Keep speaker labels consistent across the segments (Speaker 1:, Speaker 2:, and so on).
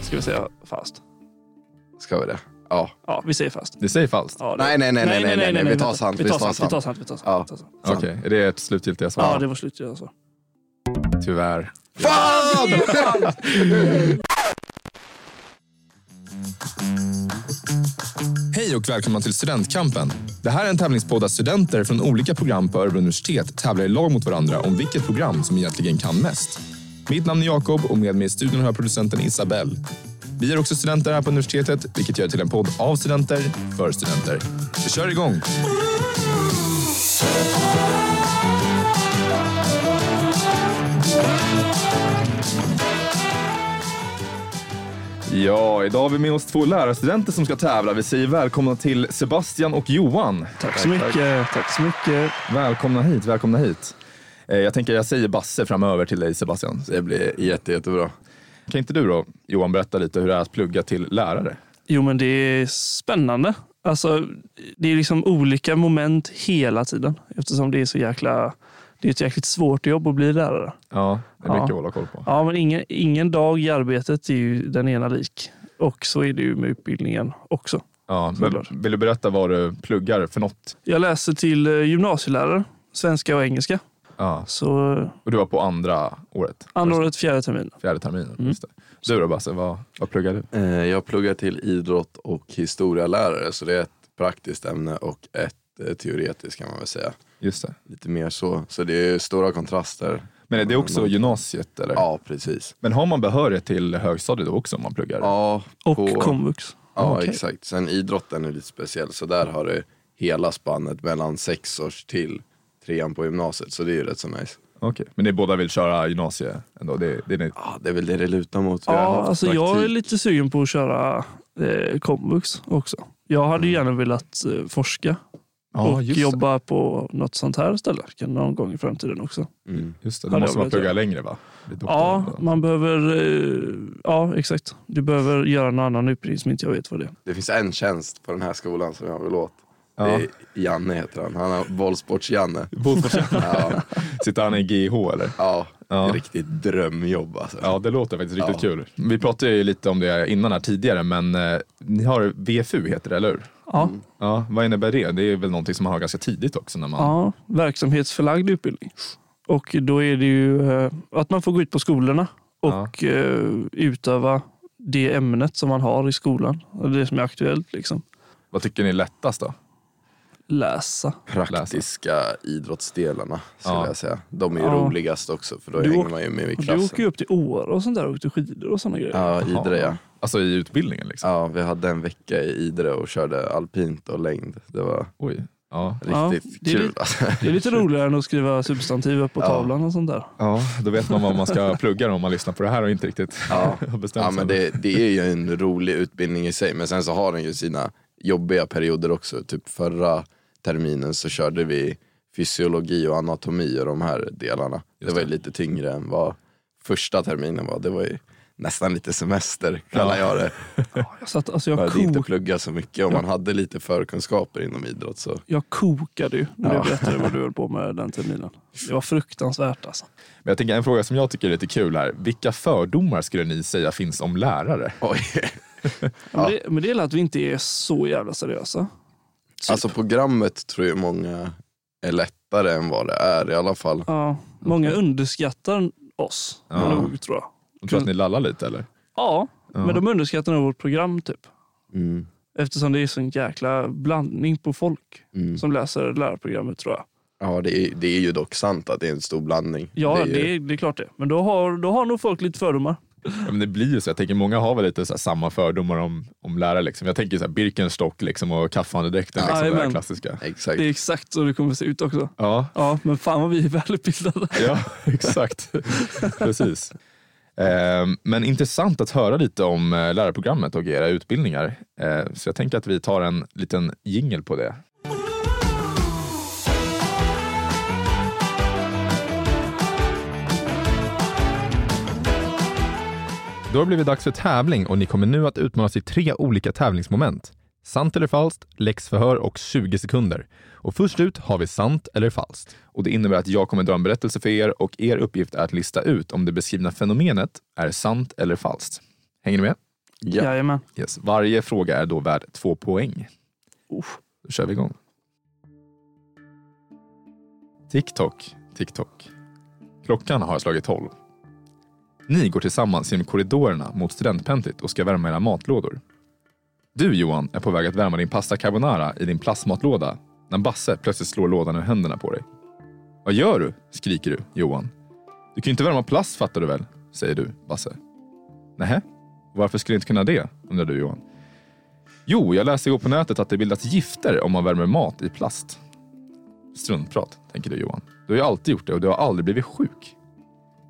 Speaker 1: Ska vi säga fast?
Speaker 2: Ska vi det? Ja.
Speaker 1: Ja, vi säger fast.
Speaker 3: Det säger falskt?
Speaker 1: Ja, det-
Speaker 2: Nej, nej, nej, nej, nej, nej, vi tar sant,
Speaker 1: Vi tar sant, vi tar sant. Vi tar sant.
Speaker 2: Ja.
Speaker 1: vi tar sant.
Speaker 2: Sant.
Speaker 3: Okej, är det ert slutgiltiga svar?
Speaker 1: Ja, det var slut. Alltså.
Speaker 3: Tyvärr.
Speaker 2: Fan!
Speaker 3: Hej och välkomna till Studentkampen. Det här är en tävlingspodd där studenter från olika program på Örebro universitet tävlar i lag mot varandra om vilket program som egentligen kan mest. Mitt namn är Jakob och med mig i studion har jag producenten Isabelle. Vi är också studenter här på universitetet, vilket gör det till en podd av studenter, för studenter. Vi kör igång! Ja, idag har vi med oss två lärarstudenter som ska tävla. Vi säger välkomna till Sebastian och Johan.
Speaker 1: Tack så mycket. Tack så mycket.
Speaker 3: Välkomna hit, välkomna hit. Eh, Jag tänker jag säger Basse framöver till dig Sebastian.
Speaker 2: Det blir jätte, jättebra.
Speaker 3: Kan inte du då Johan berätta lite hur det är att plugga till lärare?
Speaker 1: Jo, men det är spännande. Alltså, det är liksom olika moment hela tiden. Eftersom det är så jäkla... Det är ett jäkligt svårt jobb att bli lärare.
Speaker 3: Ja, det är
Speaker 1: Ja.
Speaker 3: mycket att hålla koll på.
Speaker 1: Ja, men ingen, ingen dag i arbetet är ju den ena lik. Och så är det ju med utbildningen också.
Speaker 3: Ja, men
Speaker 1: Såklart.
Speaker 3: vill du berätta vad du pluggar för något?
Speaker 1: Jag läser till eh, gymnasielärare, svenska och engelska.
Speaker 3: Ja.
Speaker 1: Så eh,
Speaker 3: Och du var på andra året?
Speaker 1: andra
Speaker 3: Just
Speaker 1: året, fjärde terminen.
Speaker 3: det, Fjärde terminen. Just det. Du då Basse, vad, vad pluggar du?
Speaker 2: Eh, Jag pluggar till idrott och historialärare så det är ett praktiskt ämne och ett eh, teoretiskt kan man väl säga.
Speaker 3: Just det.
Speaker 2: Lite mer så. Så det är stora kontraster.
Speaker 3: Men är det också gymnasiet eller?
Speaker 2: Ja, precis.
Speaker 3: Men har man behörighet till högstadiet då också om man pluggar?
Speaker 2: Ja,
Speaker 1: Och
Speaker 2: på-
Speaker 1: komvux.
Speaker 2: Ja,
Speaker 3: Okej.
Speaker 2: exakt. Sen idrotten är lite speciell, så där har du hela spannet mellan sexårs till trean på gymnasiet, så det är ju rätt så nice.
Speaker 3: Okej. Men ni båda vill köra gymnasie ändå? Det, det är ni...
Speaker 2: Ja, det är väl det det lutar mot. Vi har
Speaker 1: Ja,
Speaker 2: haft
Speaker 1: alltså jag är
Speaker 2: praktik.
Speaker 1: lite sugen på att köra eh, komvux också. Jag hade
Speaker 2: Mm.
Speaker 1: ju gärna velat eh, forska och
Speaker 3: just det.
Speaker 1: jobba på något sånt här ställe kan någon gång i framtiden också.
Speaker 2: Mm.
Speaker 3: Just det,
Speaker 1: Ja,
Speaker 3: då
Speaker 1: det
Speaker 3: måste
Speaker 1: har
Speaker 3: man
Speaker 1: blivit
Speaker 3: plugga längre va? Bli doktorand,
Speaker 1: Ja,
Speaker 3: va?
Speaker 1: man behöver... Eh, ja, exakt. Du behöver göra någon annan utbildning som inte jag vet vad det är.
Speaker 2: Det finns en tjänst på den här skolan som jag vill åt.
Speaker 3: Ja.
Speaker 2: Det är Janne heter han. Han har bollsports-Janne.
Speaker 3: Fotbollsforskare. Sitter han i GH eller?
Speaker 2: Ja,
Speaker 3: Ja.
Speaker 2: riktigt drömjobb alltså.
Speaker 3: Ja, det låter faktiskt riktigt kul. Vi pratade ju lite om det innan här tidigare, men eh, ni har VFU heter det, eller hur?
Speaker 1: Ja,
Speaker 2: Mm.
Speaker 3: Ja, vad innebär det? Det är väl någonting som man har ganska tidigt också när man...
Speaker 1: ja verksamhetsförlagd utbildning. Och då är det ju eh, att man får gå ut på skolorna och eh, utöva det ämnet som man har i skolan. och Det som är aktuellt liksom.
Speaker 3: Vad tycker ni är lättast då?
Speaker 1: Läsa.
Speaker 2: Praktiska idrottsdelarna skulle
Speaker 3: Ja.
Speaker 2: jag säga. De är ju
Speaker 1: Ja.
Speaker 2: roligast också för då
Speaker 1: Du
Speaker 2: hänger
Speaker 1: åk-
Speaker 2: man ju med i
Speaker 1: Och du åker
Speaker 2: klassen.
Speaker 1: ju upp till Åre och sånt där och åkte skidor och sådana grejer.
Speaker 2: Ja, Idre ja.
Speaker 3: Alltså i utbildningen liksom?
Speaker 2: Ja, vi hade en vecka i Idre och körde alpint och längd. Det var
Speaker 3: Oj. Ja.
Speaker 1: Ja,
Speaker 2: riktigt
Speaker 1: det är
Speaker 2: kul.
Speaker 1: lite-
Speaker 2: alltså.
Speaker 1: Det är lite roligare än att skriva substantiv upp på tavlan och sånt där.
Speaker 3: ja, då vet man vad man ska plugga då, om man lyssnar på det här och inte riktigt
Speaker 2: Ja.
Speaker 3: har bestämt
Speaker 2: ja, men
Speaker 3: sig.
Speaker 2: det, det är ju en rolig utbildning i sig, men sen så har den ju sina jobbiga perioder också. Typ förra terminen så körde vi fysiologi och anatomi och de här delarna. det var ju lite tyngre än vad första terminen var. Det var ju nästan lite semester, kallar jag det.
Speaker 1: Jag, satt, alltså
Speaker 2: Man
Speaker 1: jag,
Speaker 2: hade inte
Speaker 1: kok,
Speaker 2: plugga så mycket och man hade lite förkunskaper inom idrott. Så.
Speaker 1: jag kokade ju när du berättade vad du höll på med den terminen. Det var fruktansvärt alltså.
Speaker 3: Men jag tänker en fråga som jag tycker är lite kul här. Vilka fördomar skulle ni säga finns om lärare?
Speaker 2: Oj.
Speaker 1: Men, det, men det är att vi inte är så jävla seriösa. Typ.
Speaker 2: Alltså programmet tror jag många är lättare än vad det är i alla fall.
Speaker 1: Ja, många underskattar oss
Speaker 3: Ja.
Speaker 1: nog tror jag.
Speaker 3: De tror att ni lallar lite eller?
Speaker 1: Ja, men de underskattar nog vårt program typ.
Speaker 2: Mm.
Speaker 1: Eftersom det är sån jäkla blandning på folk
Speaker 2: Mm.
Speaker 1: som läser lärarprogrammet tror jag.
Speaker 2: Ja, det är, det är ju dock sant att det är en stor blandning.
Speaker 1: Ja, det
Speaker 2: ju-
Speaker 1: är, det är, klart det. Men då har, då har nog folk lite fördomar.
Speaker 3: Ja, men det blir ju så. Jag tänker många har väl lite så här samma fördomar om, om lärare. Liksom. Jag tänker så här Birkenstock liksom, och kaffandedräkten, liksom, det här
Speaker 1: Jajamän.
Speaker 3: klassiska.
Speaker 2: Exakt.
Speaker 1: Det är exakt så det kommer se ut också.
Speaker 3: Ja,
Speaker 1: Ja, men fan vad vi är välutbildade.
Speaker 3: ja exakt. Precis. Ehm, Men intressant att höra lite om eh, lärarprogrammet och era utbildningar. Eh, Så jag tänker att vi tar en liten jingel på det. Då har det blivit dags för tävling och ni kommer nu att utmanas i tre olika tävlingsmoment. Sant eller falskt, läxförhör och 20 sekunder. Och först ut har vi sant eller falskt. Och det innebär att jag kommer dra en berättelse för er och er uppgift är att lista ut om det beskrivna fenomenet är sant eller falskt. Hänger ni med?
Speaker 2: Ja.
Speaker 1: Jajamän.
Speaker 3: Yes. Varje fråga är då värd två poäng.
Speaker 1: Uff.
Speaker 3: Då kör vi igång. TikTok, TikTok. Klockan har slagit tolv. Ni går tillsammans genom korridorerna mot studentpentryt och ska värma era matlådor. Du Johan är på väg att värma din pasta carbonara i din plastmatlåda när Basse plötsligt slår lådan ur händerna på dig. Vad gör du? skriker du, Johan. Du kan ju inte värma plast fattar du väl? säger du, Basse. Nähä, varför skulle jag inte kunna det? undrar du Johan. Jo, jag läste igår på nätet att det bildas gifter om man värmer mat i plast. Struntprat, tänker du Johan. Du har ju alltid gjort det och du har aldrig blivit sjuk.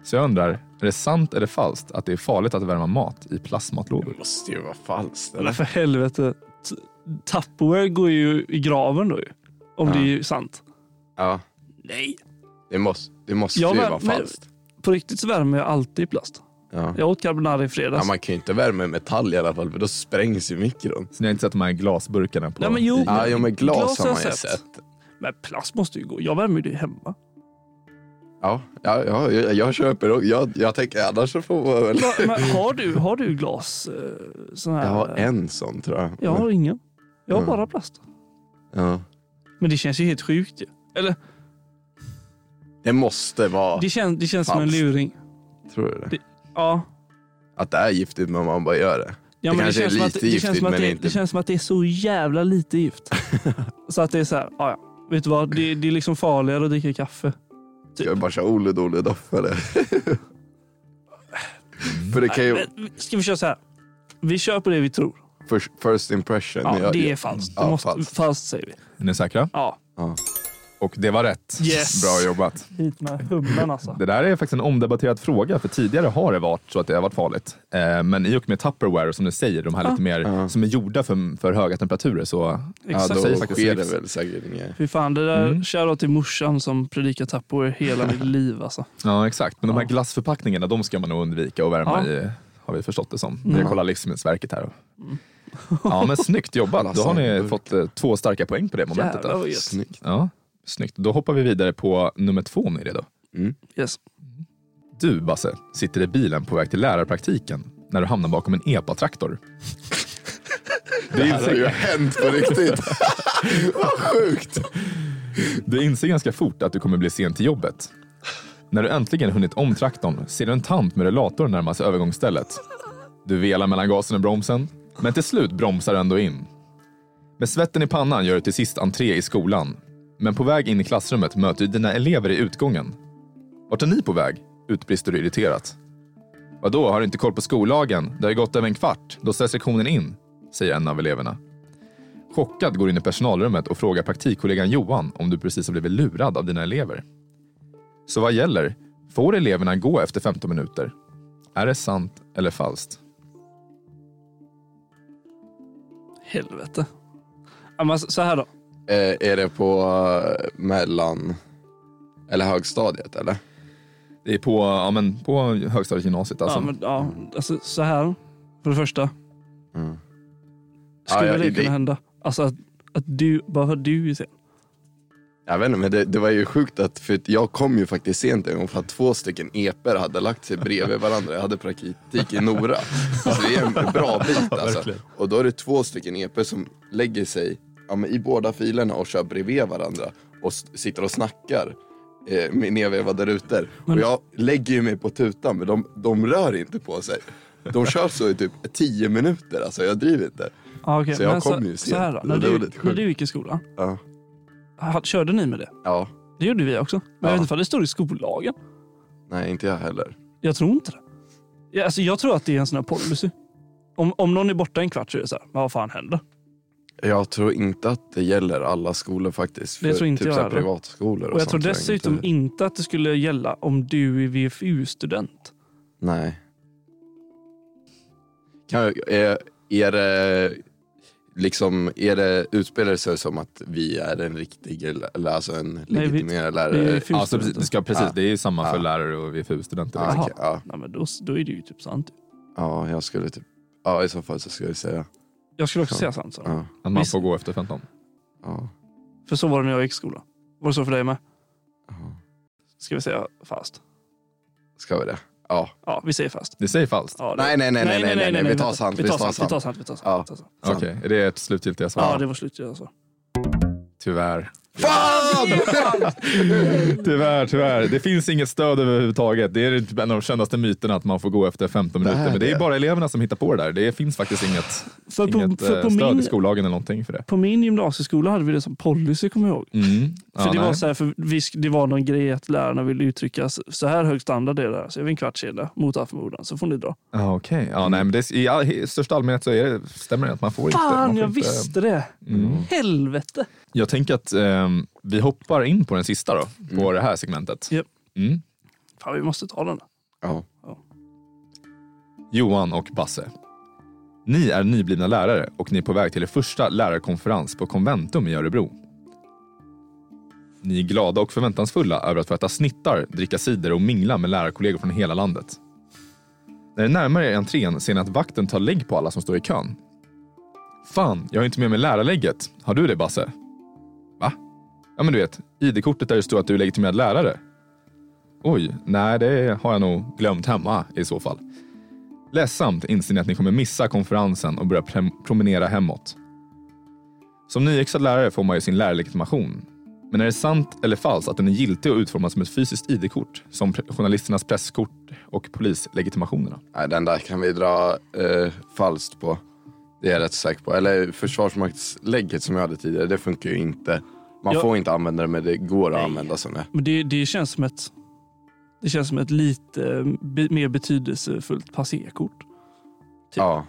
Speaker 3: Så jag undrar, är det sant eller falskt att det är farligt att värma mat i plastmatlådor?
Speaker 2: Det måste ju vara falskt.
Speaker 1: Men
Speaker 2: Eller?
Speaker 1: för helvete. T- Tupperware går ju i graven då ju. Om
Speaker 2: Ja.
Speaker 1: det är ju sant.
Speaker 2: Ja,
Speaker 1: Nej.
Speaker 2: det måste, det måste
Speaker 1: Ja,
Speaker 2: ju
Speaker 1: men-
Speaker 2: vara
Speaker 1: men-
Speaker 2: falskt.
Speaker 1: På riktigt så värmer jag alltid i plast.
Speaker 2: Ja.
Speaker 1: Jag åt carbonara i fredags.
Speaker 2: Ja, man kan ju inte värma i metall i alla fall för då sprängs ju mikron.
Speaker 3: Så ni har inte sett de här glasburkarna på
Speaker 1: Nej, men jo.
Speaker 2: Ja, jo, men glas,
Speaker 1: Glas har
Speaker 2: har man ju
Speaker 1: jag sett.
Speaker 2: sett.
Speaker 1: Men plast måste ju gå. Jag värmer ju det hemma.
Speaker 2: Ja, ja, ja jag, jag köper och jag, jag tänker annars så får man väl...
Speaker 1: Va, men har, du, har du glas? eh, Sån här,
Speaker 2: Jag har en sån tror jag.
Speaker 1: Jag har ingen. Jag har
Speaker 2: Mm.
Speaker 1: bara plast.
Speaker 2: Ja.
Speaker 1: Men det känns ju helt sjukt ju. Eller
Speaker 2: Det måste vara,
Speaker 1: det, kän, det känns som en
Speaker 2: Falskt.
Speaker 1: luring.
Speaker 2: tror du det?
Speaker 1: Ja.
Speaker 2: Att det är giftigt men man bara gör det.
Speaker 1: Ja,
Speaker 2: Det
Speaker 1: men
Speaker 2: kanske är
Speaker 1: känns som att-
Speaker 2: lite
Speaker 1: det känns
Speaker 2: giftigt,
Speaker 1: som att
Speaker 2: men
Speaker 1: det,
Speaker 2: inte-
Speaker 1: Det känns som att det är så jävla lite gift. så att det är så här, ja, ja. Vet du vad? Det, det är liksom farligare att dricka kaffe. Typ-
Speaker 2: Ska jag bara köra Ole Dole Doff eller? för det kan ju,
Speaker 1: Men, ska vi köra så här? Vi kör på det vi tror.
Speaker 2: first, first impression.
Speaker 1: Ja,
Speaker 2: jag,
Speaker 1: det är falskt. Det
Speaker 2: Ja,
Speaker 1: måste, falskt.
Speaker 2: falskt.
Speaker 1: säger vi.
Speaker 3: Är ni säkra?
Speaker 1: Ja,
Speaker 3: Och det var rätt.
Speaker 1: Yes.
Speaker 3: Bra jobbat.
Speaker 1: hit med humlan alltså.
Speaker 3: Det där är faktiskt en omdebatterad fråga, för tidigare har det varit så att det har varit farligt. Eh, men i och med Tupperware, som du säger, de här lite mer som är gjorda för, för höga temperaturer, så
Speaker 2: ja,
Speaker 1: Exakt.
Speaker 2: då
Speaker 3: säger faktiskt
Speaker 2: sker det
Speaker 3: gift.
Speaker 2: väl säkert inget.
Speaker 1: Fy fan, det där
Speaker 3: Mm.
Speaker 1: shoutout till morsan som predikar Tupperware hela mitt liv alltså.
Speaker 3: Ja, exakt. Men de här
Speaker 1: Ja.
Speaker 3: glassförpackningarna, de ska man nog undvika att värma i, har vi förstått det som.
Speaker 1: Mm.
Speaker 3: Vi kollar Livsmedelsverket här. Ja, men snyggt jobbat. Då har ni fått eh, två starka poäng på det momentet.
Speaker 1: Jävlar
Speaker 3: Då.
Speaker 1: vad gött.
Speaker 2: Snyggt.
Speaker 3: Ja, snyggt. Då hoppar vi vidare på nummer två om ni är redo.
Speaker 2: Mm.
Speaker 1: Yes.
Speaker 3: Du, Basse, sitter i bilen på väg till lärarpraktiken när du hamnar bakom en epatraktor.
Speaker 2: Det Alltså, har ju hänt på riktigt. Vad sjukt.
Speaker 3: Du inser ganska fort att du kommer bli sen till jobbet. När du äntligen hunnit om traktorn ser du en tant med rullator närma sig övergångsstället. Du velar mellan gasen och bromsen, men till slut bromsar du ändå in. Med svetten i pannan gör du till sist entré i skolan. Men på väg in i klassrummet möter du dina elever i utgången. Vart är ni på väg? utbrister du irriterat. Vadå, har du inte koll på skollagen? Det har ju gått över en kvart. Då ställs sektionen in, säger en av eleverna. Chockad går du in i personalrummet och frågar praktikkollegan Johan om du precis har blivit lurad av dina elever. Så vad gäller? Får eleverna gå efter 15 minuter? Är det sant eller falskt?
Speaker 1: Helvete. Ja, men alltså, så här då.
Speaker 2: Eh, är det på eh, mellan eller högstadiet eller?
Speaker 3: Det är på, ja, men på högstadiegymnasiet alltså.
Speaker 1: Ja, men, ja, alltså, så här, för det första.
Speaker 2: Mm.
Speaker 1: Skulle
Speaker 2: Ja, ja,
Speaker 1: det
Speaker 2: det-
Speaker 1: kunna hända? Alltså att, att du, bara för att du är sen.
Speaker 2: Jag vet inte, men det, det var ju sjukt att för att jag kom ju faktiskt sent en gång för att två stycken eper hade lagt sig bredvid varandra. Jag hade praktik i Nora. Alltså det är en bra bit alltså.
Speaker 3: verkligen.
Speaker 2: Och då är det två stycken eper som lägger sig ja, men i båda filerna och kör bredvid varandra och s- sitter och snackar eh, med nedvevade rutor.
Speaker 1: Men-
Speaker 2: Och jag lägger ju mig på tutan men de, de rör inte på sig. De kör så i typ tio minuter, alltså jag driver inte.
Speaker 1: Ja, okej,
Speaker 2: Så jag
Speaker 1: men
Speaker 2: kom ju
Speaker 1: så
Speaker 2: sent.
Speaker 1: här då,
Speaker 2: Det
Speaker 1: när,
Speaker 2: där
Speaker 1: du,
Speaker 2: var lite sjukt.
Speaker 1: när du gick i skolan,
Speaker 2: Ja.
Speaker 1: ha- körde ni med det?
Speaker 2: ja.
Speaker 1: Det gjorde vi också. Men jag
Speaker 2: Ja.
Speaker 1: vet inte om det står i skollagen.
Speaker 2: Nej, inte jag heller.
Speaker 1: Jag tror inte det. Ja, alltså, jag tror att det är en sån här policy. Om, om någon är borta en kvart så är det så här, "Men vad fan händer?
Speaker 2: Jag tror inte att det gäller alla skolor faktiskt.
Speaker 1: Det tror inte
Speaker 2: typ
Speaker 1: jag
Speaker 2: så här
Speaker 1: heller.
Speaker 2: privatskolor och,
Speaker 1: Och jag tror
Speaker 2: sånt
Speaker 1: dessutom
Speaker 2: inte.
Speaker 1: inte att det skulle gälla om du är VFU-student.
Speaker 2: Nej. Kan jag, är, är det liksom, är det, utspelar det sig som att vi är en riktig, eller alltså en
Speaker 1: vi-
Speaker 2: legitimerad
Speaker 1: vi är
Speaker 2: lärare?
Speaker 1: VFU-studenter.
Speaker 3: Alltså, precis, det, ska, precis,
Speaker 2: Ja.
Speaker 3: det är ju samma för
Speaker 2: Ja.
Speaker 3: lärare och VFU-studenter.
Speaker 2: Ja,
Speaker 3: liksom.
Speaker 2: okej, ja,
Speaker 1: Nej, men då, då är det ju typ sant.
Speaker 2: ja, jag skulle typ, ja i så fall så skulle jag säga,
Speaker 1: Jag skulle också
Speaker 2: Ja.
Speaker 1: säga sant. Så.
Speaker 2: ja.
Speaker 3: Att man
Speaker 1: Visst.
Speaker 3: får gå efter 15.
Speaker 2: ja,
Speaker 1: För så var det när jag gick i skolan. Var det så för dig med?
Speaker 2: ja.
Speaker 1: Ska vi säga fast?
Speaker 2: Ska vi det? Ja.
Speaker 1: Ja, vi säger fast.
Speaker 3: Det säger falskt?
Speaker 1: Ja, det-
Speaker 2: Nej, nej, nej, nej, nej, nej, vi tar
Speaker 1: vänta.
Speaker 2: sant,
Speaker 1: Vi tar sant, vi tar sant. Vi tar sant.
Speaker 2: Ja.
Speaker 1: vi tar sant.
Speaker 3: Okej, är det ett slutgiltiga svar?
Speaker 1: Ja, det var slut. Alltså.
Speaker 3: Tyvärr.
Speaker 2: Fan!
Speaker 3: Tyvärr, tyvärr. Det finns inget stöd överhuvudtaget. Det är typ en av de kändaste myterna att man får gå efter 15 minuter.
Speaker 2: är
Speaker 3: Men det är
Speaker 2: det.
Speaker 3: bara eleverna som hittar på det där. Det finns faktiskt inget,
Speaker 1: För på,
Speaker 3: inget
Speaker 1: för
Speaker 3: eh,
Speaker 1: på,
Speaker 3: stöd i
Speaker 1: min,
Speaker 3: skollagen eller någonting för det.
Speaker 1: på min gymnasieskola hade vi det som policy, kommer jag ihåg.
Speaker 3: Mm.
Speaker 1: För
Speaker 3: Ja,
Speaker 1: det, var
Speaker 3: nej.
Speaker 1: så här, för vi, sk- det var någon grej att lärarna ville uttrycka s- så här hög standard är det här. Så är vi en kvartskedja mot all förmodan så får ni dra.
Speaker 3: Ja, Okej, ja, nej, men det, i, all, i största allmänhet så är det, stämmer det att man får inte. Man
Speaker 1: Fan,
Speaker 3: får
Speaker 1: jag
Speaker 3: inte,
Speaker 1: visste det! Helvete!
Speaker 3: Jag tänker att ehm, vi hoppar in på den sista då, på det här segmentet.
Speaker 1: Japp.
Speaker 3: Mm.
Speaker 1: Fan, vi måste ta den.
Speaker 2: Ja.
Speaker 3: Johan och Basse. Ni är nyblivna lärare och ni är på väg till er första lärarkonferens på Conventum i Örebro. Ni är glada och förväntansfulla över att få äta snittar, dricka cider och mingla med lärarkollegor från hela landet. När ni närmar er entrén ser ni att vakten tar lägg på alla som står i kön. Fan, jag har inte med mig lärarlägget. Har du det Basse? Va? Ja men du vet, ID-kortet där det står att du är legitimerad lärare. Oj, nej det har jag nog glömt hemma i så fall. Ledsamt inser ni att ni kommer missa konferensen och börja prem- promenera hemåt. Som nyexad lärare får man ju sin lärarlegitimation. Men är det sant eller falskt att den är giltig och utformad som ett fysiskt ID-kort? Som pre- journalisternas presskort och polislegitimationerna?
Speaker 2: Nej, den där kan vi dra eh, falskt på. Det är jag rätt säker på. Eller försvarsmaktslägget som jag hade tidigare, det funkar ju inte. Man
Speaker 1: Ja.
Speaker 2: får inte använda det, men det går att
Speaker 1: Nej.
Speaker 2: använda som det.
Speaker 1: Men det, det känns som ett det känns som ett lite eh, be, mer betydelsefullt passerkort. typ.
Speaker 2: Ja.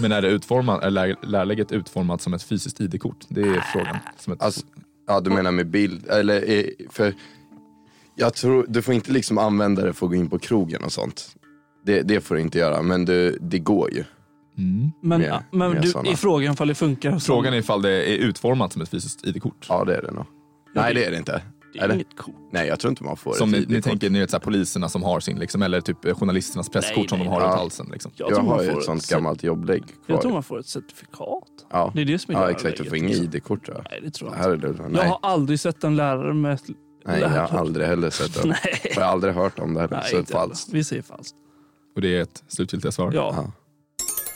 Speaker 3: Men är, det utformat, är lär- lärarlägget utformat som ett fysiskt ID-kort? Det är frågan. Som ett,
Speaker 2: Äh, Alltså, ja, du menar med bild, eller eh, för jag tror, du får inte liksom använda det för att gå in på krogen och sånt. Det, det får du inte göra, men du, det går ju.
Speaker 3: mm.
Speaker 1: Men,
Speaker 2: Mer-
Speaker 1: men
Speaker 2: mer
Speaker 1: du,
Speaker 2: såna.
Speaker 1: är frågan ifall det funkar. som-
Speaker 3: Frågan är ifall det är utformat som ett fysiskt ID-kort.
Speaker 2: Ja, det är det nog. Nej, det är det inte.
Speaker 1: det
Speaker 2: är
Speaker 1: är
Speaker 2: det?
Speaker 1: inget kort.
Speaker 2: Nej, jag tror inte man får
Speaker 3: Som
Speaker 2: ett
Speaker 3: ni, ni
Speaker 2: ID-kort.
Speaker 3: tänker, ni vet, så här, poliserna som har sin, liksom, eller typ eh, journalisternas presskort
Speaker 1: Nej,
Speaker 3: som
Speaker 1: nej,
Speaker 3: de har
Speaker 2: nej.
Speaker 3: runt halsen. Liksom.
Speaker 1: Jag,
Speaker 2: Jag
Speaker 1: tror man
Speaker 2: har ju
Speaker 1: får
Speaker 2: ett sånt
Speaker 1: cert-
Speaker 2: gammalt jobblägg kvar.
Speaker 1: Jag tror man får ett certifikat.
Speaker 2: Ja,
Speaker 1: Det är det som är
Speaker 2: ja
Speaker 1: det
Speaker 2: exakt. Du får
Speaker 1: läget,
Speaker 2: inget
Speaker 1: liksom.
Speaker 2: ID-kort tror jag.
Speaker 1: Nej, det tror jag
Speaker 2: Här
Speaker 1: inte.
Speaker 2: är det,
Speaker 1: Jag
Speaker 2: nej.
Speaker 1: har aldrig sett en lärare med ett
Speaker 2: nej, jag har aldrig heller sett det.
Speaker 1: Nej,
Speaker 2: Jag har aldrig hört om det heller,
Speaker 1: nej
Speaker 2: så det är
Speaker 1: inte heller.
Speaker 2: falskt.
Speaker 1: Vi säger falskt.
Speaker 3: Och det är ett slutgiltiga svar.
Speaker 1: Ja,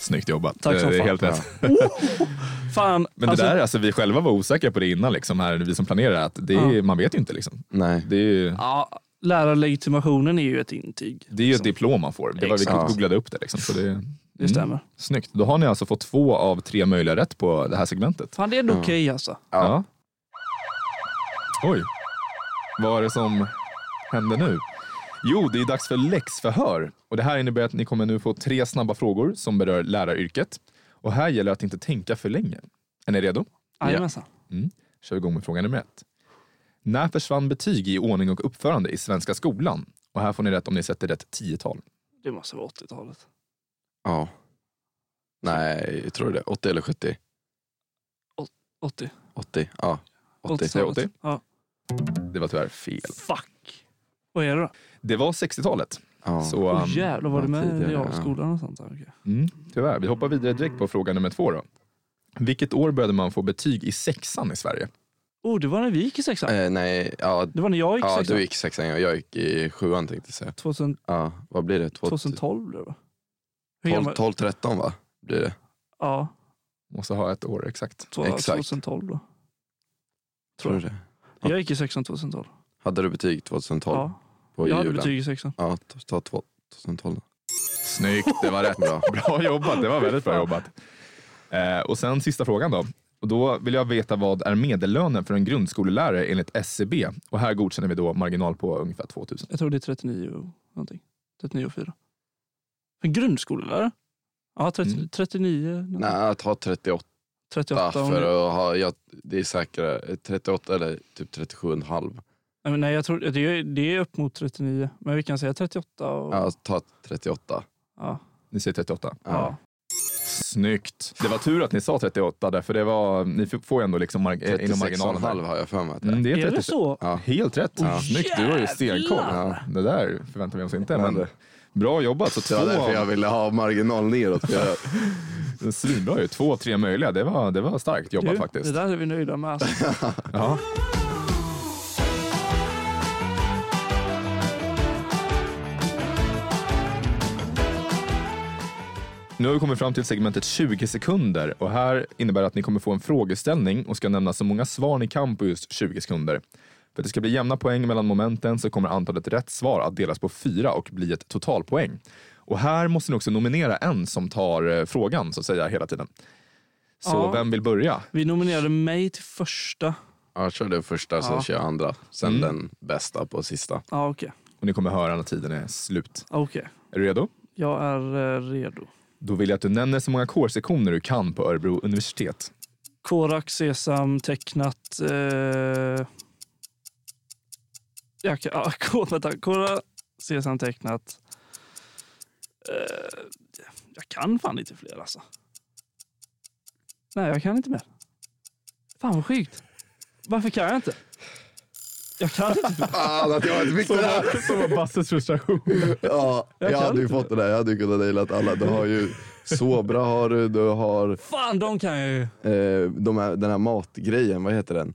Speaker 3: Snyggt jobbat.
Speaker 1: Tack som
Speaker 3: det är
Speaker 1: fan.
Speaker 3: helt rätt.
Speaker 1: fan.
Speaker 3: Men
Speaker 1: alltså,
Speaker 3: det där, alltså, vi själva var osäkra på det innan, liksom, här, vi som planerar, att det är,
Speaker 1: Ja.
Speaker 3: man vet ju inte. Liksom.
Speaker 2: Nej.
Speaker 3: Det är ju,
Speaker 1: Ja, lärarlegitimationen är ju ett intyg.
Speaker 3: det är ju ett diplom man får. Det var, vi
Speaker 2: Exakt.
Speaker 3: googlade upp det. Liksom, så det,
Speaker 1: Det stämmer.
Speaker 3: Snyggt. Då har ni alltså fått två av tre möjliga rätt på det här segmentet.
Speaker 1: Fan, det är ändå okej alltså.
Speaker 2: Ja.
Speaker 3: Oj. Vad är det som händer nu? Jo, det är dags för läxförhör. Och det här innebär att ni kommer nu få tre snabba frågor som berör läraryrket. Och här gäller det att inte tänka för länge. Är ni redo?
Speaker 1: Jajamensan.
Speaker 3: kör vi igång med fråga nummer ett. När försvann betyg i ordning och uppförande i svenska skolan? Och här får ni rätt om ni sätter rätt tiotal.
Speaker 1: Det måste vara 80-talet.
Speaker 2: Ja. Nej, jag tror det. 80 eller 70?
Speaker 1: 80.
Speaker 2: 80. Ja. 80.
Speaker 1: 80-talet.
Speaker 3: 80.
Speaker 1: Ja.
Speaker 3: Det var tyvärr fel.
Speaker 1: Fuck. Vad är det då?
Speaker 3: Det var 60-talet.
Speaker 2: Ja.
Speaker 3: Så
Speaker 1: Åh
Speaker 3: um,
Speaker 1: jävlar, var det
Speaker 2: ja,
Speaker 1: med
Speaker 2: tidigare,
Speaker 1: i
Speaker 2: ja.
Speaker 1: skolan och sånt? där? Okej.
Speaker 3: mm, tyvärr. Vi hoppar vidare direkt på fråga nummer två. Då. Vilket år började man få betyg i sexan i Sverige?
Speaker 1: Oh, det var när vi gick i sexan.
Speaker 2: Eh, nej, ja,
Speaker 1: Det var när jag gick i
Speaker 2: ja
Speaker 1: sexan.
Speaker 2: du gick sexan och jag gick i sjuan tänkte jag säga.
Speaker 1: 2000,
Speaker 2: Ja, vad blir det?
Speaker 1: 2012 blev det va? Hur
Speaker 2: 12,
Speaker 1: gammal-
Speaker 2: 12, 13 va? Blir det.
Speaker 1: Ja,
Speaker 3: Måste ha ett år exakt.
Speaker 1: två-
Speaker 2: Exakt.
Speaker 1: 2012 då.
Speaker 2: Tror
Speaker 1: Tror
Speaker 2: du
Speaker 1: jag.
Speaker 2: det?
Speaker 1: Jag gick i sexan 2012.
Speaker 2: Hade du betyg 2012?
Speaker 1: Ja,
Speaker 2: på
Speaker 1: jag hade
Speaker 2: julen?
Speaker 1: betyg i sexan.
Speaker 2: Ja, ta- ta två- 2012.
Speaker 3: Snyggt, det var rätt.
Speaker 2: Bra.
Speaker 3: Bra jobbat, det var väldigt bra jobbat. Eh, och sen sista frågan då. Och då vill jag veta vad är medellönen för en grundskolelärare enligt SCB? Och här godkänner vi då marginal på ungefär 2000.
Speaker 1: Jag tror det är 39 och någonting. 39 och 4. En grundskolelärare? Ja, 30,
Speaker 3: Mm.
Speaker 1: 39. någonting.
Speaker 2: Nej, ta 38
Speaker 1: 38. om
Speaker 2: för
Speaker 1: det-
Speaker 2: att ha, jag, det är säkrare. 38 eller typ 37,5.
Speaker 1: Nej, men Nej, jag tror, det, är, det är upp mot 39. Men vi kan säga 38. Och,
Speaker 2: Ja, ta 38.
Speaker 1: ja.
Speaker 3: Ni säger 38.
Speaker 1: Ja.
Speaker 3: Snyggt. Det var tur att ni sa 38 där, för det var, ni f- får ju ändå liksom mar- eh, inom marginalen. där.
Speaker 2: 36,5 har jag för mig att det är.
Speaker 3: Mm, det är,
Speaker 1: Är det
Speaker 3: 36.
Speaker 1: så?
Speaker 2: Ja.
Speaker 3: Helt rätt.
Speaker 2: Ja.
Speaker 3: Snyggt, du har ju stenkoll.
Speaker 1: Jävlar.
Speaker 3: Det där förväntar vi oss inte. Men
Speaker 2: Men det-
Speaker 3: bra jobbat. Så
Speaker 2: Det
Speaker 3: två,
Speaker 2: var därför jag ville ha marginal neråt. För jag,
Speaker 3: Svinbra ju. Två av tre möjliga. Det var, det var starkt jobbat
Speaker 1: Du,
Speaker 3: faktiskt.
Speaker 1: Det där är vi nöjda med. Alltså.
Speaker 3: Ja. Nu har vi kommit fram till segmentet 20 sekunder och här innebär det att ni kommer få en frågeställning och ska nämna så många svar ni kan på just 20 sekunder. För att det ska bli jämna poäng mellan momenten så kommer antalet rätt svar att delas på fyra och bli ett totalpoäng. Och här måste ni också nominera en som tar eh, frågan så att säga hela tiden. Så
Speaker 1: Ja.
Speaker 3: vem vill börja?
Speaker 1: Vi nominerade mig till första.
Speaker 2: Ja, Mm. kör du första så
Speaker 1: Ja.
Speaker 2: kör jag andra. Sen den bästa på sista.
Speaker 1: Ja, okej.
Speaker 3: Och ni kommer höra när tiden är slut.
Speaker 1: Okej.
Speaker 3: Är du redo?
Speaker 1: Jag är eh, redo.
Speaker 3: Då vill jag att du nämner så många kårsektioner du kan på Örebro universitet.
Speaker 1: Korak, Sesam, tecknat... Eh... Jag kan... ah, ko- vänta. Korak, Sesam, tecknat. Eh... Jag kan fan inte fler alltså. Nej, jag kan inte mer. Fan vad sjukt. Varför kan jag inte? Jag kan inte.
Speaker 2: Fan att jag inte fick det där!
Speaker 3: Som var Basses frustration.
Speaker 2: Ja,
Speaker 1: Jag
Speaker 2: jag,
Speaker 1: kan
Speaker 2: hade ju
Speaker 1: inte.
Speaker 2: fått det där. Jag hade ju kunnat nailat alla. Du har ju Sobra har du, du har
Speaker 1: Fan, de kan jag ju.
Speaker 2: eh, de här, den här matgrejen, vad heter den?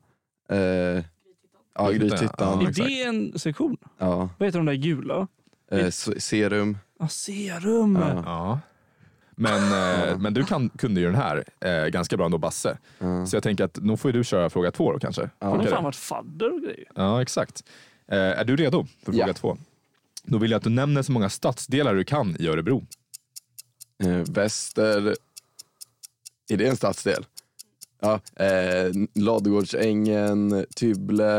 Speaker 2: Eh, ja,
Speaker 3: Grythyttan,
Speaker 2: Grythyttan.
Speaker 1: Är det en sektion?
Speaker 2: Ja,
Speaker 1: Vad heter de där gula?
Speaker 2: eh, s- serum.
Speaker 1: Ah, serum.
Speaker 2: Ja.
Speaker 3: Ja. Men, eh, men du kan, kunde ju den här eh, ganska bra ändå, Basse. Så jag tänker att nu får ju du köra fråga två då kanske.
Speaker 1: Har
Speaker 3: Funkar
Speaker 1: de
Speaker 3: det?
Speaker 1: fan varit fadder och grejer?
Speaker 3: Ja, exakt. Eh, är du redo för fråga
Speaker 2: Ja.
Speaker 3: två? Då vill jag att du nämner så många stadsdelar du kan i Örebro.
Speaker 2: Eh, väster... Är det en stadsdel? Ja, eh, Ladugårdsängen, Tybble,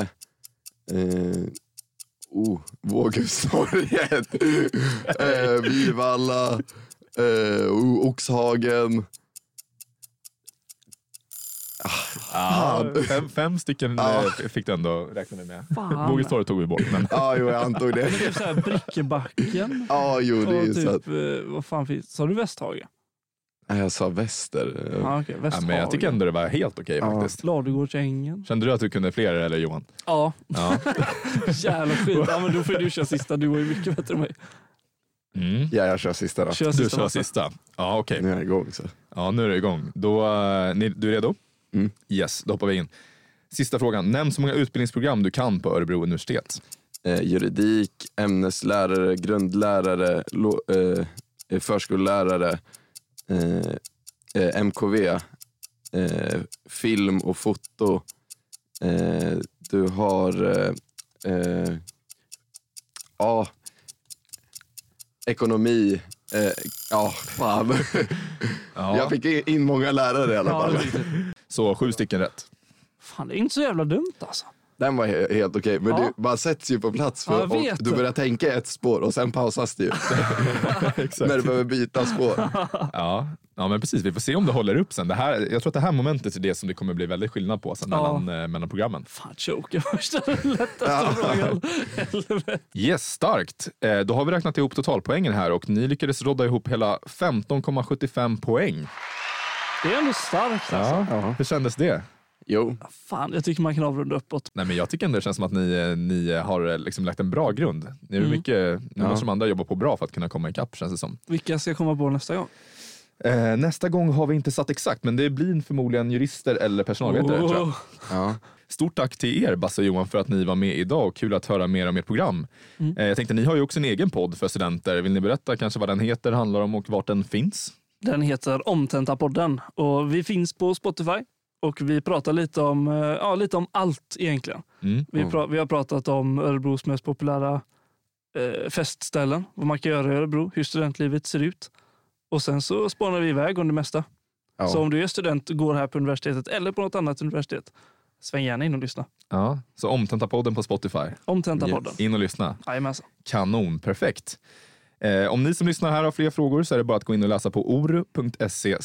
Speaker 2: eh, oh, Våghustorget, eh, Vivalla, eh, oh, Oxhagen.
Speaker 3: Ah, fem, fem stycken eh, fick du ändå räkna dig med.
Speaker 1: Fan.
Speaker 3: Vågestorget tog vi bort. Men,
Speaker 2: Ja, jo, jag antog det.
Speaker 1: Typ såhär Brickebacken.
Speaker 2: Ja, jo, det är ju
Speaker 1: Och
Speaker 2: så att...
Speaker 1: typ, eh, vad fan finns Sa du Västhaga?
Speaker 2: Nej, jag sa väster.
Speaker 1: Ja, okej.
Speaker 3: ja,
Speaker 1: Västhaga.
Speaker 3: men jag tycker ändå det var helt okej
Speaker 2: Ja.
Speaker 3: faktiskt.
Speaker 1: Ladugårdsängen.
Speaker 3: Kände du att du kunde fler eller Johan?
Speaker 1: Ja,
Speaker 3: Ja.
Speaker 1: jävla skit. Ja, men då får du köra sista. Du var ju mycket bättre än mig.
Speaker 3: Mm.
Speaker 2: Ja, jag kör sista då.
Speaker 1: Kör
Speaker 3: Du
Speaker 1: sista.
Speaker 3: kör
Speaker 1: matchen.
Speaker 3: sista. Ja, okej.
Speaker 2: Nu är jag igång. Så.
Speaker 3: Ja, nu är det igång. Då, eh, ni, du är redo?
Speaker 2: Mm.
Speaker 3: Yes, då hoppar vi in. Sista frågan. Nämn så många utbildningsprogram du kan på Örebro universitet.
Speaker 2: Eh, juridik, ämneslärare, grundlärare, lo, eh, eh, förskollärare, eh, eh, MKV, eh, film och foto. Eh, du har... Eh, eh, ja, ekonomi. Eh, ja, fan.
Speaker 3: Ja.
Speaker 2: Jag fick in- in många lärare i alla
Speaker 1: Ja,
Speaker 2: fall.
Speaker 1: det är riktigt.
Speaker 3: Så sju stycken rätt.
Speaker 1: fan, det är inte så jävla dumt alltså.
Speaker 2: Den var he- helt okej, men
Speaker 1: Ja.
Speaker 2: du, man sätts ju på plats
Speaker 1: Ja,
Speaker 2: för,
Speaker 1: jag
Speaker 2: och
Speaker 1: vet
Speaker 2: du
Speaker 1: det.
Speaker 2: börjar tänka i ett spår och sen pausas det ju. När du behöver byta spår.
Speaker 3: Ja. ja, men precis. Vi får se om det håller upp sen. Det här, jag tror att det här momentet är det som det kommer bli väldigt skillnad på sen
Speaker 1: Ja.
Speaker 3: mellan, eh, mellan programmen.
Speaker 1: Fan, choka första den lättaste frågan. Helvete.
Speaker 3: Yes, starkt. Eh, då har vi räknat ihop totalpoängen här och ni lyckades rodda ihop hela 15,75 poäng.
Speaker 1: Det är ändå starkt alltså.
Speaker 3: Ja. Hur kändes det?
Speaker 2: Jo,
Speaker 1: Fan, jag tycker man kan avrunda uppåt.
Speaker 3: Nej, men jag tycker ändå det känns som att ni, eh, ni har eh, liksom lagt en bra grund. Nu, är det mycket, nu måste de andra jobba på bra för att kunna komma ikapp känns det som.
Speaker 1: Vilka ska komma på nästa gång?
Speaker 3: Eh, nästa gång har vi inte satt exakt, men det blir förmodligen jurister eller personalvetare. Tror jag.
Speaker 1: Oh.
Speaker 2: ja.
Speaker 3: Stort tack till er, Basse och Johan, för att ni var med idag och kul att höra mer om ert program. Eh, jag tänkte, ni har ju också en egen podd för studenter. Vill ni berätta kanske vad den heter, handlar om och vart den finns?
Speaker 1: Den heter Omtentapodden och vi finns på Spotify och vi pratar lite om, eh, ja, lite om allt egentligen.
Speaker 3: Mm.
Speaker 1: Vi, pra- vi har pratat om Örebros mest populära eh, festställen, vad man kan göra i Örebro, hur studentlivet ser ut. Och sen så spånar vi iväg om det mesta.
Speaker 2: Ja.
Speaker 1: Så om du är student och går här på universitetet eller på något annat universitet, sväng gärna in och lyssna.
Speaker 3: Ja, så Omtenta-podden på Spotify.
Speaker 1: Omtentapodden.
Speaker 3: In och lyssna.
Speaker 1: Jajamensan.
Speaker 3: Kanon, perfekt. Eh, om ni som lyssnar här har fler frågor så är det bara att gå in och läsa på oru.se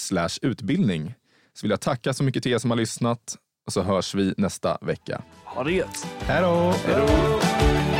Speaker 3: utbildning. Så vill jag tacka så mycket till er som har lyssnat och så hörs vi nästa vecka.
Speaker 1: Ha det gött!
Speaker 3: Hej då!
Speaker 1: Hej då!